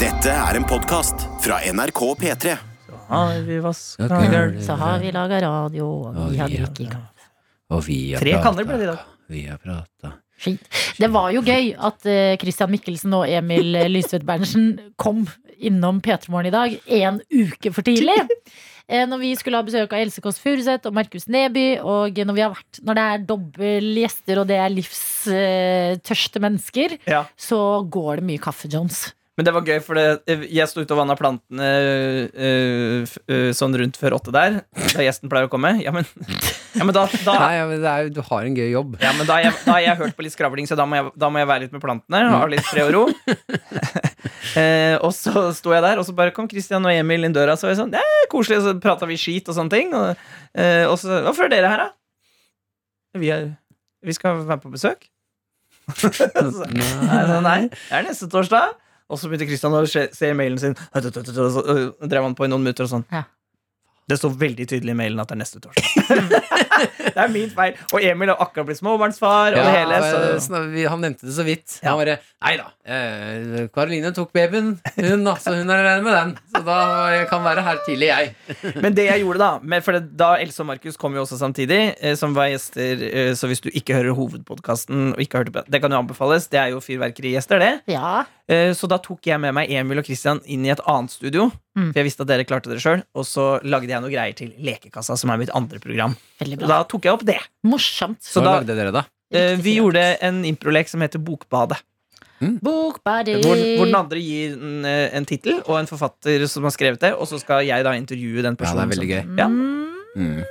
Dette er en podkast fra NRK P3. Har vi vaska Ok. gulv Det Så er har det. vi laga radio, og vi Ja, har vi har- drukket kaffe. Og vi har Tre pratet, kanner ble det i dag. Vi har prata. Skit. Det var jo gøy at eh, Christian Mikkelsen og Emil eh, Lysvedt Berntsen kom innom P3 Morgen i dag en uke for tidlig. Eh, Når vi skulle ha besøk av Else Kåss Furuseth og Markus Neby, og når, vi har vært, når det er dobbeltgjester og det er livstørste mennesker, Ja. så går det mye kaffe, Jones. Men det var gøy, for det, jeg sto ute og vanna plantene eh, f- eh, sånn rundt før åtte der, da gjesten pleier å komme. Ja, men, ja, men da, da Nei, ja, men det er, jo- du har en gøy jobb. Ja, men da har jeg, da har jeg hørt på litt skravling, så da må jeg, da må jeg være litt med plantene. Ha litt fred og ro. eh, og så sto jeg der, og så bare kom Christian og Emil inn døra, så var jeg sånn Det er koselig, og så prata vi skit og sånne ting. Og, eh, og så Hvorfor er dere her, da? Vi, er, vi skal være på besøk. så, nei, så, nei, det er neste torsdag. Og så begynte Christian å se se i mailen sin, og så øh, drev han på i noen minutter og sånn. Ja. Det står veldig tydelig i mailen at det er neste torsdag. det er min feil. Og Emil har akkurat blitt småbarnsfar. og det hele, og, eh, så... sånn, vi- han nevnte det så vidt. Ja. Han bare Nei da. eh, Karoline tok babyen, hun, altså. Hun er alene med den. Så da jeg kan være her tidlig, jeg. Men det jeg gjorde da men for det, Da Else og Markus kom jo også samtidig, eh, som var gjester. Eh, så hvis du ikke hører hovedpodkasten, og ikke har hørt på- det kan jo anbefales. Det er jo fyrverkerigjester, det. Ja. Eh, Så da tok jeg med meg Emil og Christian inn i et annet studio. Mm. For jeg visste at dere klarte det sjøl. Og så lagde jeg noe greier til Lekekassa, som er mitt andre program. Veldig Og da bra. tok jeg opp det. Morsomt. Så Hva da- lagde dere, da? Eh, Vi Riktig. gjorde en improlek som heter Bokbadet. Bokbari. Hvor, hvor den andre gir en, eh, en tittel og en forfatter som har skrevet det, og så skal jeg da intervjue den Ja, det personen. er veldig gøy. som- Ja. Mm.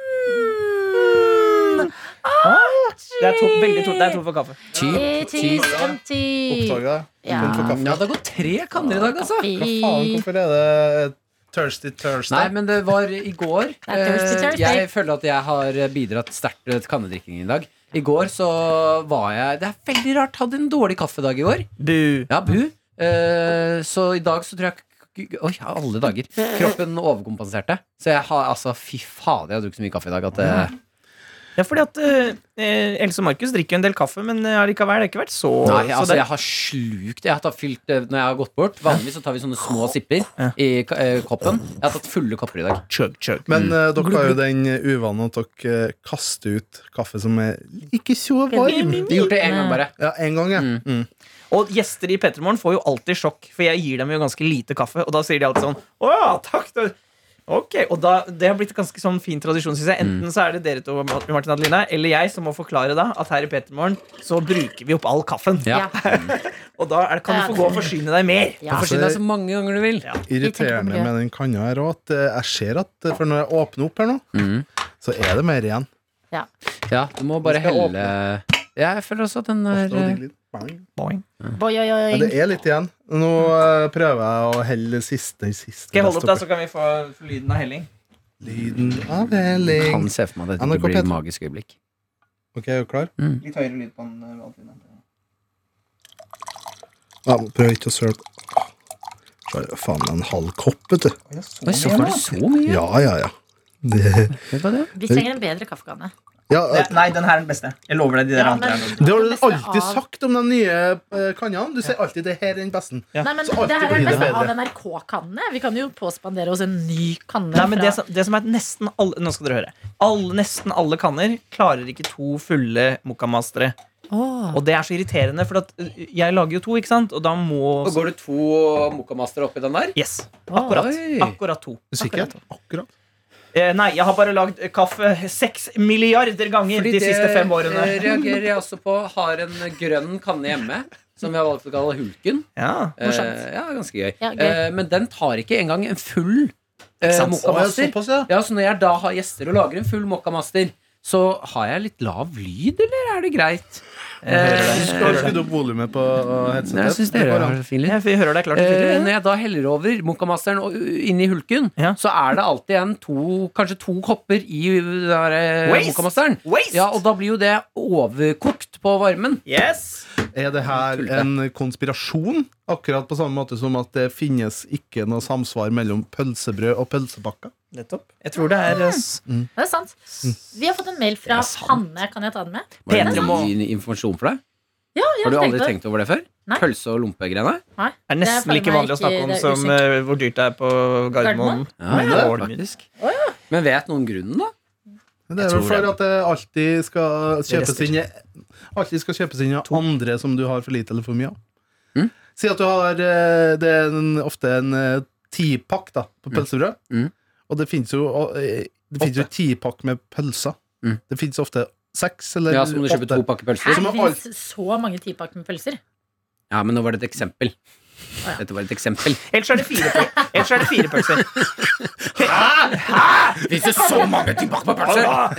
Det er to, veldig to, det er to for kaffe. Typ, It typ. is empty. Oppdaga det. Ja. Tom for kaffe. Ja, det går tre kanner i dag, altså. Hva faen, hvorfor er det thirsty Thursday? Nei, men det var i går. Det er Thursday, Eh, Thursday. Jeg føler at jeg har bidratt sterkt til kannedrikkingen i dag. I går så var jeg Det er veldig rart. Hadde en dårlig kaffedag i går. Bu. Ja, bu. Eh, så i dag så tror jeg Oi, ja, alle dager. Kroppen overkompenserte. Så jeg har altså Fy fader, jeg har drukket så mye kaffe i dag at eh, Ja, fordi at eh, Else og Markus drikker jo en del kaffe, men eh, allikevel, det har ikke vært så Nei, så altså det, jeg har slukt Jeg har tatt fylt eh, når jeg har gått bort. Vanligvis så tar vi sånne små sipper i ka- eh, koppen. Jeg har tatt fulle kopper i dag. chug, chug. Men eh, dere har jo den uvanen at dere eh, kaster ut kaffe som er ikke så varm. Jeg har gjort det én gang, bare. Ja, én gang, ja. Mm. Og gjester i Petermorgen får jo alltid sjokk, for jeg gir dem jo ganske lite kaffe, og da sier de alltid sånn Å ja, takk, da. Ok, og da, Det har blitt ganske sånn fin tradisjon, syns jeg. Enten Mm. så er det dere to, Martin og Adelina, eller jeg som må forklare da at her i Petermorgen så bruker vi opp all kaffen. Ja. Og da er, det- kan du få gå og forsyne deg mer. Du Ja. får si deg så mange ganger du vil. Irriterende miljø. med den kanna her òg, at eh, jeg ser at eh, For når jeg åpner opp her nå, så er det mer igjen. Ja, du må bare Den skal helle Jeg føler også at den eh, er Ofte må det ligge litt- Bang. Boing. Boing, boing, Men boing. det er litt igjen. Nå eh, prøver jeg å helle siste, siste Skal jeg holde opp, da, last så kan vi få lyden av helling? Lyden av eh, Kan helling. se for meg at NRK dette blir P3. et magisk øyeblikk. Ok, er du klar? Litt høyere lyd på den. eh, Adelina. Ja, men prøv ikke å søle. Så er det faen meg en halv kopp, vet du. Oi, så får du så mye. Ja, ja, ja. Det, Vet du hva det er? Vi trenger en bedre kaffekanne. ja eh, Det- Nei, den her er den beste. Jeg lover deg de der Ja, andre. men- er noe. Det har du beste alltid av- sagt om de nye eh, kannene. Du sier alltid 'det her er den besten'. Ja. Nei, men Så alltid Det her er blir det det beste bedre. av NRK-kannene. Vi kan jo påspandere oss en ny kanne. Nei, men det, fra- som, det som er at nesten alle Nå skal dere høre. Alle, nesten alle kanner klarer ikke to fulle mokkamastere. Åh. Og det er så irriterende, for at øh, jeg lager jo to, ikke sant? Og da må går det to mokamastere oppi den der? Yes. Akkurat, Oi. akkurat to. Sikker? Akkurat. Eh, nei, jeg har bare lagd eh, kaffe seks milliarder ganger de siste fem eh, årene. reagerer jeg også på. Har en grønn kanne hjemme, som vi har valgt å kalle Hulken. Ja, morsomt. Eh, ja, ganske gøy. Ja, gøy. Eh, men den tar ikke engang en full eh, sant? Å, ja, mokkamaster. såpass, ja. Ja, så når jeg da har gjester og lager en full mokkamaster, så har jeg litt lav lyd, eller er det greit? Eh, Skal du skru opp volumet på eh, headsetet? Nei, jeg syns dere har det fint litt. jeg vi hører deg klart. og Eh, tydelig, når jeg da heller over Mokkamasteren og uh, inn i hulken, Ja. så er det alltid en to, kanskje to kopper i den der, eh, Waste! Mokkamasteren. Waste! Ja, og da blir jo det overkokt på varmen. Yes! Er det her en konspirasjon? Akkurat på samme måte som at det finnes ikke noe samsvar mellom pølsebrød og pølsepakker? Nettopp. Jeg tror det Ah. er eh, s- Det er Mm. sant. Vi har fått en mail fra Hanne. Kan jeg ta den med? Var Petre det må- ny informasjon for deg? Ja, jeg Har du aldri tenkte- tenkt over det før? Nei. Pølse- og lompegreiene? Nei. er nesten for like meg vanlig å ikke- snakke om det er som eh, hvor dyrt det er på Gardermoen. Gardermoen? Ja, Men det er det var det mye. faktisk. Men vet noen grunnen, da? Men Det Jeg er vel tror for det. at det alltid skal kjøpes rester. inn i- Alltid skal kjøpes inn av andre som du har for lite eller for mye av. Mm. Si at du har eh, Det er en, ofte en eh, tipakk da, på pølsebrød. Mm. Og det finnes jo eh, Det finnes jo tipakk med pølser. Mm. Det finnes ofte seks eller Ja, Så må du kjøpe åtte. to pakker pølser? Her Som er fins så mange tipakker med pølser. Ja, men nå var det et eksempel. Dette var et eksempel. Ellers er det fire pøl- ellers er det fire pølser. Fins det så mange typer pakker pølser?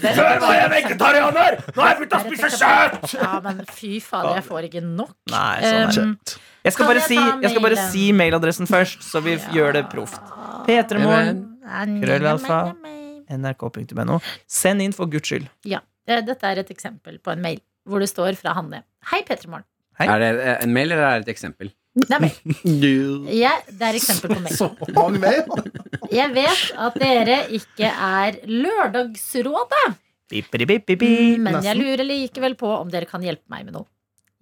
Før var jeg vegetarianer! Nå har jeg begynt å spise kjøtt! Ja, men fy fader, jeg får ikke nok. ehm, Nei, sånn Eh, er det. Kjøtt. Jeg skal Kan bare jeg si, ta jeg skal bare mailen? si mailadressen først, så vi gjør det proft. Ah. Mm, P3morgen, krøllalfa, nrk.no. Send inn for guds skyld. Eh, Dette er et eksempel på en mail hvor det står fra Hanne. Hei, Petremorgen. Er det eh, en mail, eller er det et eksempel? Det er mail. Du- Ja, det er eksempel på mail. Så mange mer! Jeg vet at dere ikke er Lørdagsrådet, Bipidi-bipidi. men jeg Nesten. lurer likevel på om dere kan hjelpe meg med noe.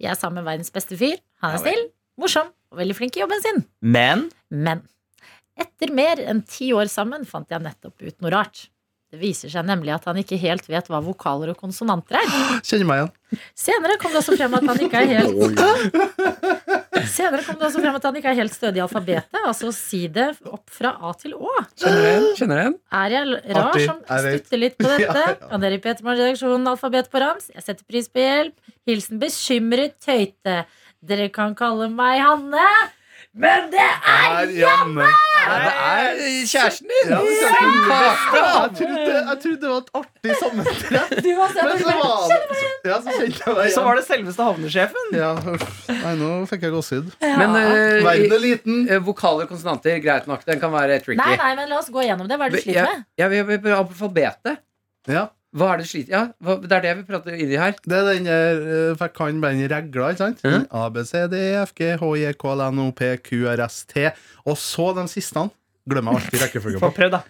Jeg er sammen med verdens beste fyr. Han Ja er vel. snill, morsom og veldig flink i jobben sin. Men Men etter mer enn ti år sammen fant jeg nettopp ut noe rart. Det viser seg nemlig at han ikke helt vet hva vokaler og konsonanter er. Kjenner meg igjen. Senere kom det også frem at han ikke er helt Senere kom det også frem at han ikke er helt stødig i alfabetet. Altså si det opp fra A til Å. Kjenner du igjen? Kjenner du igjen? Er jeg l- rar Artig. som Jeg vet. stutter litt på dette? Ja, ja. Kan dere i Petermann-redaksjonen alfabet på rams? Jeg setter pris på hjelp. Hilsen bekymret tøyte. Dere kan kalle meg Hanne, men det Er Janne. Ja, det er kjæresten din! Ja, det er Kjempebra! Jeg trodde, jeg trodde det var et artig sammentreff. Du var Men så var det Ja, så kjente jeg meg så var igjen. det selveste havnesjefen. Ja, uff. Nei, nå fikk jeg gåsehud. Men eh, Verden er i- liten. eh, vokaler og konsonanter, greit nok. Den kan være tricky. Nei, nei, men la oss gå gjennom det. Hva er det du sliter med? Ja, vi- vi- vi- alfabetet. Ja. Hva er det du sliter Ja, hva, det er det vi prater inni her. Det er den der eh, For jeg kan bare den regla, ikke sant? Mhm. A, B, C, D, E, F, G, H, I, K, L, N, O, P, Q, R, S, T. Og så de siste. Glemmer jeg alltid rekkefølgen Få på. prøvd, da.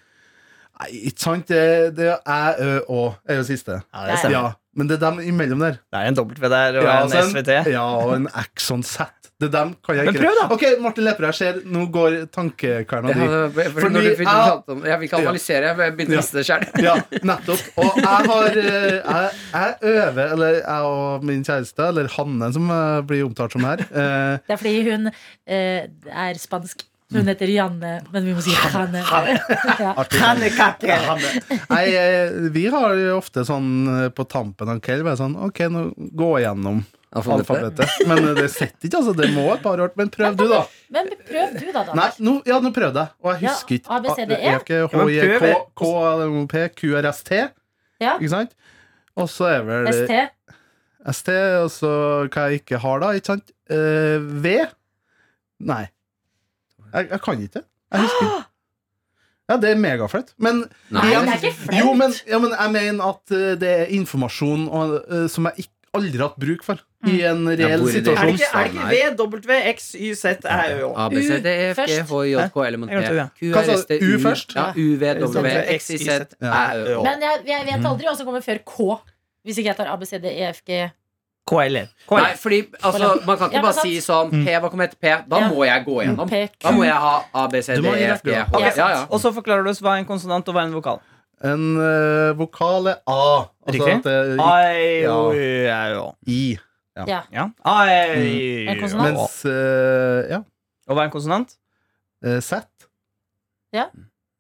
Nei, ikke sant? Det, det er Æ, Ø, Å er jo siste. Ja, det stemmer. Ja, men det er dem imellom der. Det er en W der og Ja, en altså SVT. ja, og en Axon Z. Det er dem kan jeg Men ikke prøv da. Ok, Martin Lepperød, jeg ser nå går tankekverna Jeg, di. hadde, for Fordi når du begynte å jeg- prate om, jeg vil ikke analysere, jeg begynte å Ja. liste det sjøl. Ja, nettopp. Og jeg har eh, Jeg, jeg øver, eller jeg og min kjæreste, eller Hanne, som eh, blir omtalt som her eh, Det er fordi hun eh, er spansk. Mm. Hun heter Janne, men vi må si Hanne. Ja. Nei, eh, vi har jo ofte sånn eh, på tampen av kvelden bare sånn Ok, nå gå igjennom alfabetet. Men eh, det sitter ikke, altså. Det må et par år. Men prøv du, da. Men prøv du, da. Nei, da. nå, ja, nå prøvde jeg, og jeg Ja, husker ikke. A, B, C, D, E. A, F, G, H, I, Ja, men K, prøv. K, L, M, O, P, Q, R, S, T. Ja. Ikke sant? Og så er vel ST. ST, og så hva jeg ikke har, da. Ikke sant? Eh, v? Nei. Jeg, jeg kan ikke det. Jeg husker ikke. Ja, det er megaflaut. Men Nei, igjen- det er ikke flaut. Jo, men, ja, men jeg mener at eh, det er informasjon og, eh, som jeg ikke, aldri har hatt bruk for i en Mm. Er hvor er det? reell det situasjon. ikke, er det ikke V, W, X, Y, Z, Æ, Ø, Å? A, B, C, D, E, F, G, H, I, J, K, L, M, N, Jeg glemte U. P, Q, Hva R, sa S, T, du? U U, først? Sånn, ja, U, V, W, X, Y, Z, Æ, Ja. Ø, Å. Men jeg, jeg Mm. vet aldri hva som kommer før K. Hvis ikke jeg tar ABCD, EFG KL. Nei, fordi altså, man kan ikke Ja, men bare sant. si sånn Mm. P, hva kommer etter P? Da Ja. må jeg gå gjennom. P, Q. Da må jeg ha A, B, C, Du D, må E, gi F, G, H. rekke, ja. Ja, ja. Og så forklarer du oss hva er en konsonant og hva er en vokal. En eh, vokal er A. Altså Riktig. at det er Ai, Ja. oi, ai, å. I. Ja. Ja. Ai, En konsonant. å. Mens eh, ja, Og hva er en konsonant? eh, Z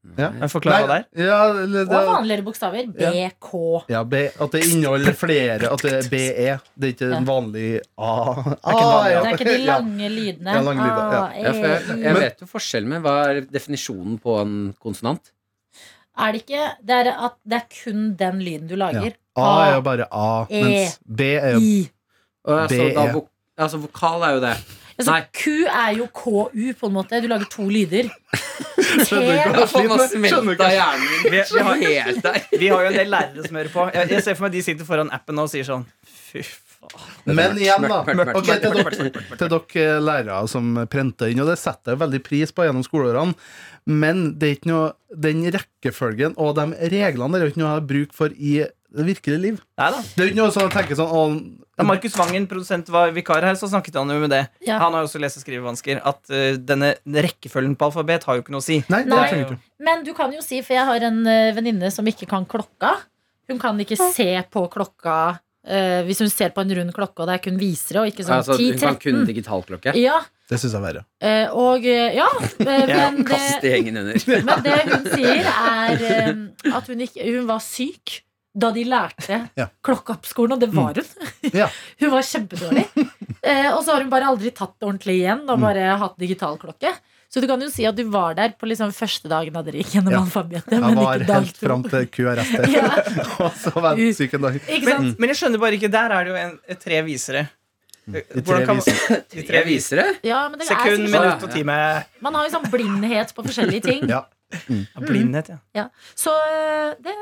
Men Forklar hva det er. Ja, eller Og det er- vanligere bokstaver. BK. ja, B, at det inneholder flere. At det er BE. Det er ikke en vanlig A. er ikke en vanlig A. Ah, ja. Det er ikke de Ja. lange lydene. Ja, lange lyder, ja. A, E, Ja, for jeg, jeg I. vet jo forskjellen, men hva er definisjonen på en konsonant? Er det ikke Det er, at det er kun den lyden du lager. A er jo bare A, E. mens B er jo I. Og Altså, B, da, E. vok altså vokal er jo det. Altså, Nei. Q er jo KU, på en måte. Du lager to lyder. T ikke hva- er Jeg får Nå nå smelta hjernen min Vi- vi har- helt der. Vi har jo en del lærere som hører på. Jeg, jeg ser for meg de sitter foran appen nå og sier sånn Fy faen. Men igjen, da. Mørkt, mørkt, Ok, mørkt, til, mørkt, dere, til dere eh, lærere som prenter inn, og det setter jeg veldig pris på gjennom skoleårene, men det er ikke noe, den rekkefølgen og de reglene der er jo ikke noe jeg har bruk for i Det virkelige liv. Nei da. Det er jo ikke noe sånn å tenke sånn Da å, Markus Vangen, produsent, var vikar her, så snakket han jo med det. Ja. Han har jo også lese- og skrivevansker. At eh, denne rekkefølgen på alfabet har jo ikke noe å si. Nei, det Nei. trenger du ikke. Men du kan jo si, for jeg har en eh, venninne som ikke kan klokka. Hun kan ikke se på klokka eh, hvis hun ser på en rund klokke, og det er kun visere, og ikke sånn Altså, hun kan kun 10-13. digitalklokke. Ja, Det syns jeg er verre. eh, og eh, ja, eh, men Kast det, det gjengen under. men det hun sier, er eh, at hun, ikke, hun var syk da de lærte Ja. Mm. klokka på skolen, og det var hun. Ja. Hun var kjempedårlig. Eh, og så har hun bare aldri tatt det ordentlig igjen Mm. og bare hatt digital klokke. Så du kan jo si at du var der på liksom første dagen da dere gikk gjennom Ja. alfabetet. Jeg Men var ikke dag helt to. fram til QRST, Ja, og så var jeg syk en dag. ikke sant? Men, men jeg skjønner bare ikke. Der er det jo en, tre visere. Eh, De Hvordan tre kan- viser. De tre Tre Mm. visere. visere? Ja, men det er Sekund, sikkert sånn. minutt og time. Man har jo sånn blindhet på forskjellige ting. Ja. Mm. Ja, blindhet, ja. Ja. Så øh, det,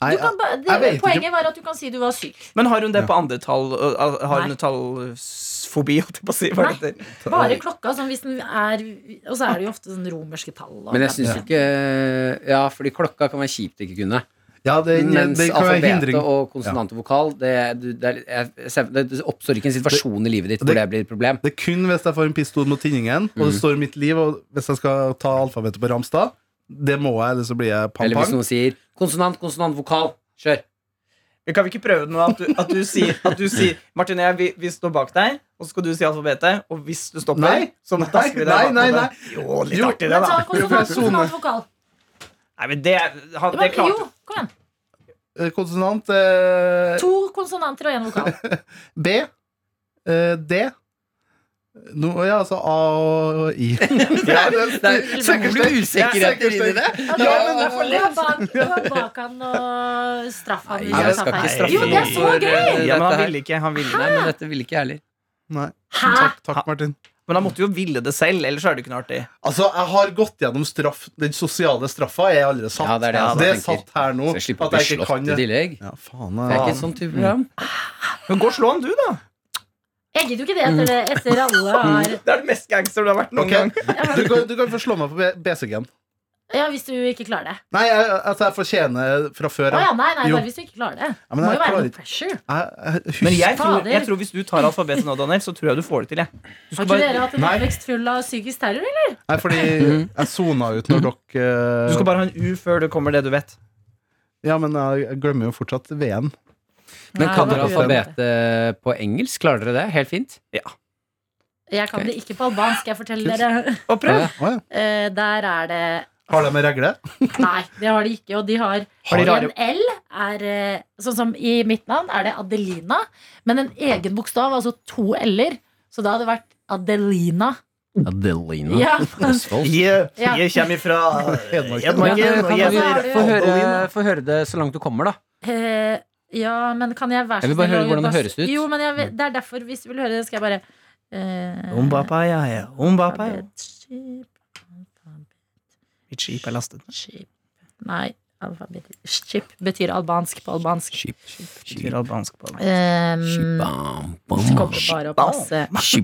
Nei, du kan, ba- jeg det vet ikke. Poenget var at du kan si du var syk. Men har hun det på andre tall? og- og- Har hun Nei. tallfobi, holdt jeg på å si? Hva Nei. er det det? Bare klokka, som hvis den er Og så er det jo ofte sånn romerske tall. Og Men jeg syns Ja. ikke Ja, fordi klokka kan være kjipt å ikke kunne. ja, det, Mens det kan være alfabetet hindring. og konsonant og vokal Det, er- du- det, er litt- jeg- jeg ser- det det oppstår ikke en situasjon i livet ditt hvor det det- blir et problem. Det er kun hvis jeg får en pistol mot tinningen, og det Mhm. står mitt liv, og hvis jeg skal ta alfabetet på Ramstad, det må jeg, eller så blir jeg Eller hvis pang-pang. noen sier konsonant, konsonant, vokal. Kjør. Men Kan vi ikke prøve det nå? At du, at du sier, at du sier Martin og jeg, vi, vi står bak deg, og så skal du si alfabetet. Og hvis du stopper, Nei. så dasker vi deg Nei, bak nei, hodet. nei. Jo, litt Jo. artig, det, Men ta da. konsonant, konsonant, vokal. Nei, men det, han, Det det var- klarte Jo, kom igjen. Eh, Konsonant eh, To konsonanter og én vokal. B. Eh, D. No, ja, altså A og I. ja, det, Det er utrolig usikkerheter inni det. Ok, Ja, men det er for Du var bak, du var bak han og straff han. Nei, hvis han jeg sa skal ikke feil. straffe Jo, det er noen så for, gøy! eh, Ja, men han dette her. ville ikke. Han ville. Nei, men dette vil ikke jeg heller. Nei. Hæ? Takk, takk, Martin. Men han måtte jo ville det selv, ellers er det ikke noe artig. Altså, jeg har gått gjennom straff Den sosiale straffa er jeg allerede satt. Ja, det er det jeg også er tenker. satt her nå. Så jeg slipper å At bli jeg ikke slått kan i det. tillegg. Ja, faen Det er ikke jeg. et sånt type program. Men gå og slå han, du, da. Jeg gidder jo ikke det etter, det, etter alle har Det er det mest gangster du har vært noen Ok. gang. Du kan, du kan få slå meg på B- BCG-en. Ja, hvis du ikke klarer det. Nei, jeg, altså, jeg fortjener fra Å før ja, av. nei, nei, Jo. bare hvis du ikke klarer det. Ja, Det men må jeg jo være klarer noe ikke pressure. Jeg- jeg Men husker- jeg tror, Fader. jeg tror hvis du tar alfabetet nå, Daniel, så tror jeg du får det til. Jeg. Du Har skal, ikke bare, dere hatt en Nei. oppvekst full av psykisk terror, eller? Nei, fordi jeg sona ut når dere eh, du skal bare ha en U før det kommer det du vet. Ja, men jeg glemmer jo fortsatt V-en. Men Nei, kan det dere var uøvd. alfabetet på engelsk? Klarer dere det? Helt fint. Jeg kan Ok. det ikke på albansk, jeg forteller dere. Og prøv! Ja. Å, ja. Eh, der er det Har de en regle? Nei, det har de ikke. Og de har, Har de rare- En L er eh, Sånn som i mitt navn er det Adelina, men en egen bokstav, altså to L-er. Så da hadde det vært Adelina. Adelina Ja, Østfold. Jeg, Ja. jeg kommer fra Hedmarken. Men, eh, Hedmarken. og kan jeg vi er blir det- få Adelina. høre, få høre det så langt du kommer, da? Eh, ja, men kan jeg være Jeg vil bare høre å hvordan det bare- høres ut. Jo, men jeg, vil- det er derfor, hvis du vil høre det, skal jeg bare eh, Om papaya, ja. Om papaya. alfabet, skip, alfabet, Mitt skip er lastet. skip. Nei, alfabet Skip betyr albansk på albansk. Til albansk på albansk. Um, så kommer det bare opp masse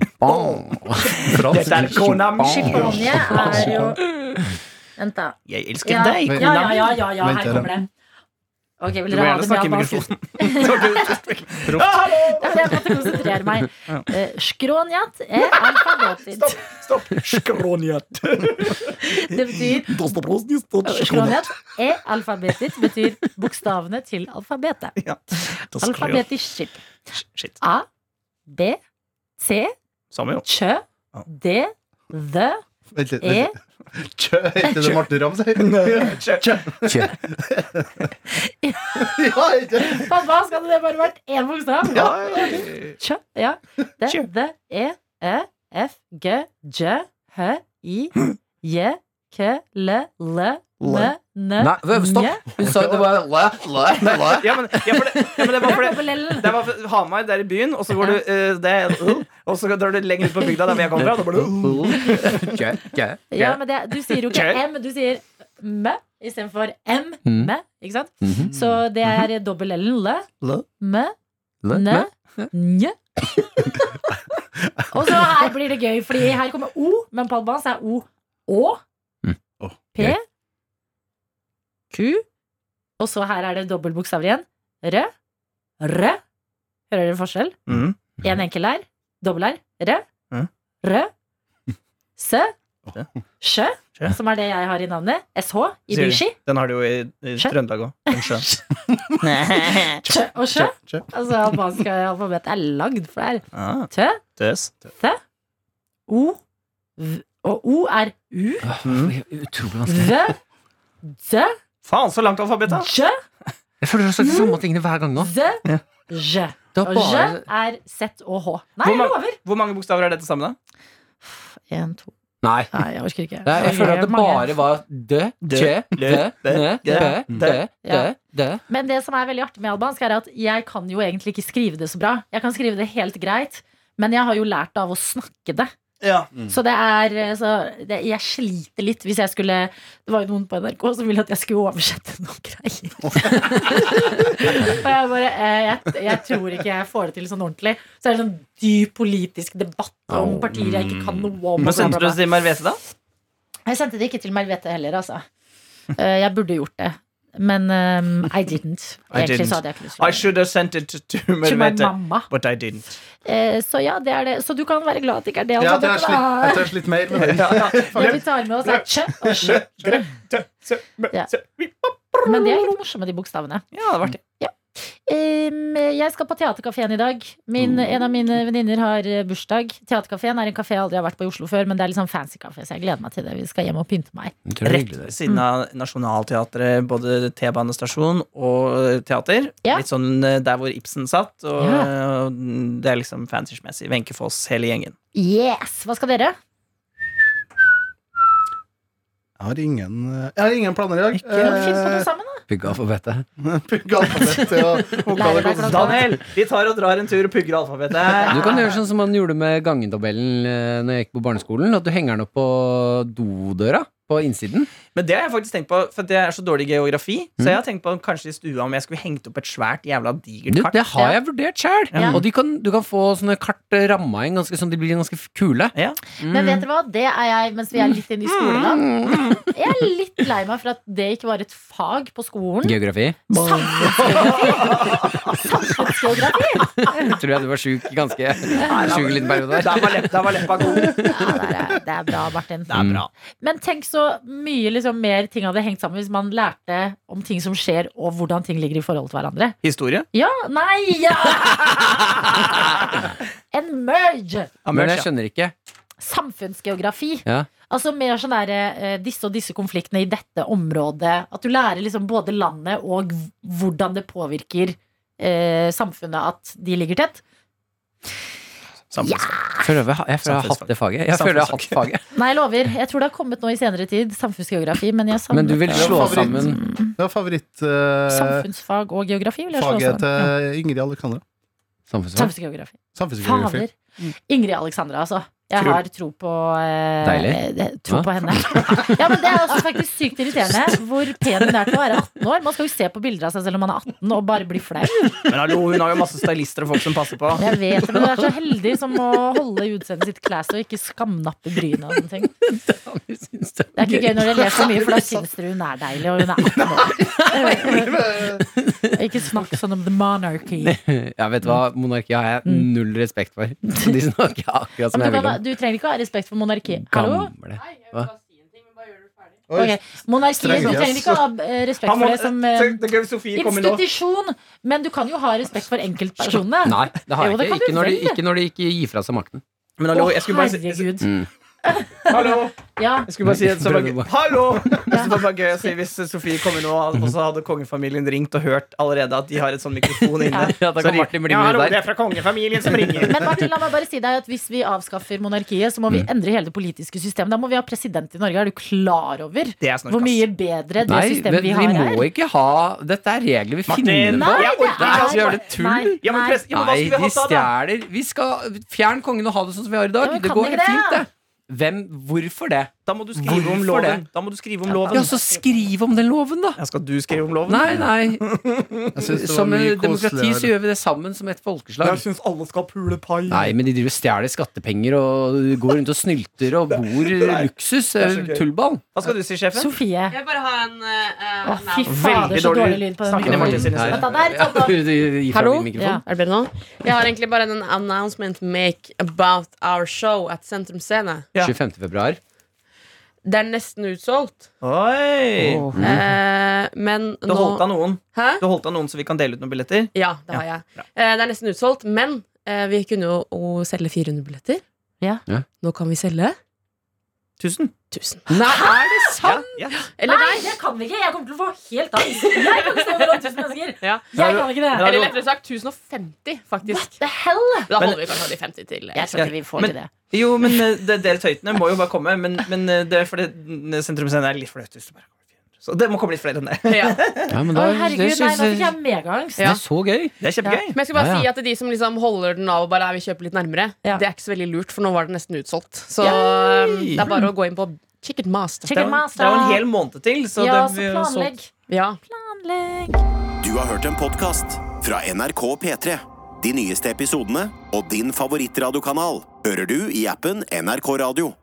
Dette er kona mi. Skipanje er jo sånn. Vent, da. Jeg elsker Ja, deg, ja, kona ja, mi. ja, ja, ja Vent, her kommer det. Ok, vil Du må dere ha gjerne det med snakke i albansk? mikrofonen. Ja, for jeg måtte konsentrere meg. Eh, Skrånjat er alfabetet. Stopp! Skrånjet. Det betyr Skrånhet er alfabetet, betyr bokstavene til alfabetet. Ja. Da skrur jeg opp. Alfabetisk skip. Shit. A, B, C, Samme jo. Kjø, D, The, Vent litt. E, vent litt. Tjø, heter det Marte Ramm, sier Tjø. Ja, ikke Pappa, skal det bare vært én bokstav? ja. Kjø, ja. D, Kjø. D, E, Ø, F, G, J, H, I, J, K, L, L, M, N, Nei, v- stopp! Hun sa det var la, la, la. Ja, men, ja, for det, ja, men det var fordi det var for- Hamar, der i byen, og så går du eh, det, Og så drar du lenger ut på bygda, der hvor jeg kommer fra. og Da blir uh. det Kjø, kjø. Ja, men det, du sier jo ikke Kjø. M, du sier M istedenfor M, Mm. M, ikke sant? Mhm. Så det er dobbel L, L, Lø. M, Le, N, le. Nj. Og så her blir det gøy, Fordi her kommer O, men på albansk er O Å, Mm. Å, P, Q, og så her er det dobbeltbokstaver igjen. Rø. Rø. Hører dere forskjell? Mm. En enkel R. Dobbel R. Rø. Mm. Rø. Sø. Sø. Sjø, Sjø. som er det jeg har i navnet. SH. I Sier du. Bishi. Den har du jo i, i Sjø. Trøndelag òg. Den sjøen. Sjø og sjø. Sjø. Altså albansk alfabet er lagd for det her. Ah, Tø. tøs. O. V. Og O er U. Mm. Utrolig vanskelig. V. Dø. Faen, så langt alfabet, da! Jø. Jeg føler du har sagt de samme tingene hver gang nå. Zø. Ja. Jø. Det Og var jø bare er Z og H. Nei, Hvor jeg mange- lover! Hvor mange bokstaver er dette sammen, da? En, to Nei. Nei, jeg orker ikke. Nei, jeg føler at det bare var dø, Dø, tjø, lø, dø, dø, nø, dø, dø, dø, dø, Ja. dø. Men det som er veldig artig med albansk, er at jeg kan jo egentlig ikke skrive det så bra. Jeg kan skrive det helt greit, men jeg har jo lært av å snakke det. Ja. Så det er eh, så det, Jeg sliter litt hvis jeg skulle Det var jo noen på NRK som ville at jeg skulle oversette noen greier. Og jeg bare eh, jeg, jeg tror ikke jeg får det til sånn ordentlig. Så er det sånn dyp politisk debatt Au. om partier jeg ikke kan noe om. Mm. Hva og bla, sendte du bla, bla. til Marvete, da? Jeg sendte det ikke til Mervete heller, altså. Eh, Jeg burde gjort det. Men um, I didn't. I Egentlig didn't. så hadde jeg ikke lyst I til should have sent it to det. Til min Marvete. mamma. But I didn't. Eh, Så ja, det er det. Så du kan være glad at det ikke er det Ja, jeg alfabetet. tørs litt, jeg da. tørs litt mer med den. Det vi tar med oss, er tjø og sjø. Ja. Men det er litt morsomme, de bokstavene. Ja, det var artig. Em, jeg skal på Theatercaféen i dag. Min, En av mine venninner har eh, bursdag. Theatercaféen er en kafé jeg aldri har vært på i Oslo før, men det er litt sånn fancy kafé, så jeg gleder meg til det. Vi skal hjem og pynte meg. Rett ved siden Mm. av Nationaltheatret, både T-banestasjon og teater. Ja. Litt sånn eh, der hvor Ibsen satt, og Ja. eh, det er liksom fansishmessig. Wenche Foss, hele gjengen. Yes! Hva skal dere? Jeg har ingen, eh, jeg har ingen planer i dag. Ja, fint, skal Eh, du sammen, da? Bygge alfabetet. Pugge alfabet til å Lære deg vokale hvordan- Daniel, vi tar og drar en tur og pugger alfabetet. Du kan gjøre sånn som man gjorde med gangetabellen eh, Når jeg gikk på barneskolen. At du henger den opp på dodøra på innsiden. Men det har jeg faktisk tenkt på, for det er så dårlig geografi. Så jeg har tenkt på kanskje i stua om jeg skulle hengt opp et svært jævla digert Du, kart. det har jeg vurdert sjøl! Ja. Og de kan, du kan få sånne kart eh, ramma inn ganske sånn de blir ganske kule. Ja. Men vet dere hva? Det er jeg mens vi er litt inne i skoleland. Jeg er litt lei meg for at det ikke var et fag på skolen. Geografi. Samfunnsgeografi! Jeg tror jeg du var sjuk ganske sjuk en liten periode der. Der var, lepp, der var leppa god. Det Ja, det er, det er bra, Martin. er bra. Men tenk så mye liksom, mer ting hadde hengt sammen hvis man lærte om ting som skjer, og hvordan ting ligger i forhold til hverandre. Historie? Ja, nei, ja! En merge! Ja, Men merch, jeg ja. skjønner ikke. Samfunnsgeografi. Ja. Altså mer sånn der, eh, disse og disse konfliktene i dette området. At du lærer liksom både landet og v- hvordan det påvirker eh, samfunnet at de ligger tett. Samfunnsfag. Jeg føler jeg, jeg, føler jeg har hatt det faget. Jeg føler jeg har hatt faget. Nei, jeg lover. Jeg tror det har kommet nå i senere tid. Samfunnsgeografi. Men jeg Men du savnet vil det. slå Favoritt. sammen Det var eh, favorittfaget Samfunnsfag og geografi vil jeg slå sammen. Ja. til Ingrid Alexandra. samfunnsfag. Samfunnsgeografi. Samfunnsgeografi. Fader. Mm. Ingrid Alexandra, altså. Jeg Kul. har tro på eh, Deilig. det- Hva? Tro på henne. Ja, men Det er også faktisk sykt irriterende hvor pen hun er til å være 18 år. Man skal jo se på bilder av seg selv om man er 18 og bare bli flau. Men hallo, hun har jo masse stylister og folk som passer på. Jeg vet det, men du er så heldig som må holde utseendet sitt class og ikke skamnappe brynet og sånne ting. Det Jeg synes det er ikke gøy når dere ler for mye, for da syns dere hun er deilig, og hun er 18 år. Ikke snakk sånn om the monarchy. Jeg vet hva, Monarkiet har jeg null respekt for. De snakker akkurat Mm. som jeg Men du, vil kan, om. du trenger ikke å ha respekt for monarki. Hallo? Gamle Oi, Ok, Monarkiet du Streng, trenger ikke å ha eh, respekt Han må- for det som eh, Tenk, det er gøy hvis Sofie kommer nå. institusjon, men du kan jo ha respekt for enkeltpersonene. Nei, det har Jo, jeg det ikke. kan Ikke du når, de, velge. ikke når de ikke gir fra seg makten. Men Å, hallo, jeg skulle bare si herregud. Hallo! Ja. Jeg skulle bare si at det var gøy. Brødrene. Hallo! Så det var gøy å si hvis Sofie kommer nå, og så hadde kongefamilien ringt og hørt allerede at de har et sånn mikrofon inne. Ja, da Så kan de- Martin bli Ja, med hallo, det der. er fra kongefamilien som ringer. Men Martin, la meg bare si deg at hvis vi avskaffer monarkiet, så må vi endre hele det politiske systemet. Da må vi ha president i Norge. Er du klar over Det er snork, hvor mye ass. bedre det Nei, systemet vi vi har må her? ikke ha Dette er regler vi Martin, finner nei, på. Jeg orker ikke å gjøre det tull. Nei, Ja, men nei. press, ja, men hva Nei, skulle de vi hatt da, da? stjeler. Vi skal fjerne kongen og ha det sånn som vi har i Ja, dag. men Det kan går vi helt det, fint, da? det. Hvem Hvorfor det? Da må du skrive om Hvorfor loven. det? Da må du skrive om loven. Ja, så skriv om den loven, da! Ja, skal du skrive om loven? Nei, nei. Jeg synes det var Som mye et demokrati koseligere. så gjør vi det sammen, som et folkeslag. syns alle skal pule pai. Nei, men de driver og stjeler skattepenger og går rundt og snylter og bor i luksus. eh, er så gøy. Tullball. Hva skal du si, sjefen? Sofie. Jeg vil bare ha en eh, Å, en fy annen. fader, så dårlig lyd på den Snakker i mikrofonen. Martin sine Nei. sider. Vent da, der, ta den opp. Gi fra Hallo? din mikrofon. Ja, er det bedre nå? Jeg har egentlig bare en announcement to make about our show at Sentrum Scene. Ja. 25. februar. Det er nesten utsolgt. Oi! Mhm. Eh, men Du nå holdt av noen Hæ? Du holdt av noen så vi kan dele ut noen billetter? Ja, det Ja, har jeg. Eh, det er nesten utsolgt, men eh, vi kunne jo å selge 400 billetter. Ja. Ja. Nå kan vi selge Tusen. 1000. Nei, er det sant?! Ja. Eller Nei, nei! det kan vi ikke! Jeg kommer til å få helt angst. Jeg kan ikke stå mellom tusen mennesker. Ja. Jeg kan ikke det. Eller lettere sagt 1050, faktisk. The hell? Da Men- holder vi kanskje de 50 til. eh, Jeg tror ikke vi får til det. Jo, men eh, det, dere tøytene må jo bare komme. Men, men eh, det er fordi n- sentrumsscenen er litt flaut. hvis du bare kommer 400. Så det må komme litt flere enn det. Ja. Ja, men Å, da, herregud, det nei, synes nå fikk jeg jeg megaangst. Det er så gøy! Det er kjempegøy. Men jeg skal bare Ja, ja. si at de som liksom holder den av og bare er, vi kjøper litt nærmere, Ja. det er ikke så veldig lurt, for nå var det nesten utsolgt. Så um, Yay! det er bare å gå inn på Chicken Master. Det er, jo, Chicken det er master. jo en hel måned til. Så Ja, det så blir jo solgt. planlegg. Ja. Planlegg. Du har hørt en podcast fra NRK P3. De nyeste episodene og din favorittradiokanal hører du i appen NRK Radio.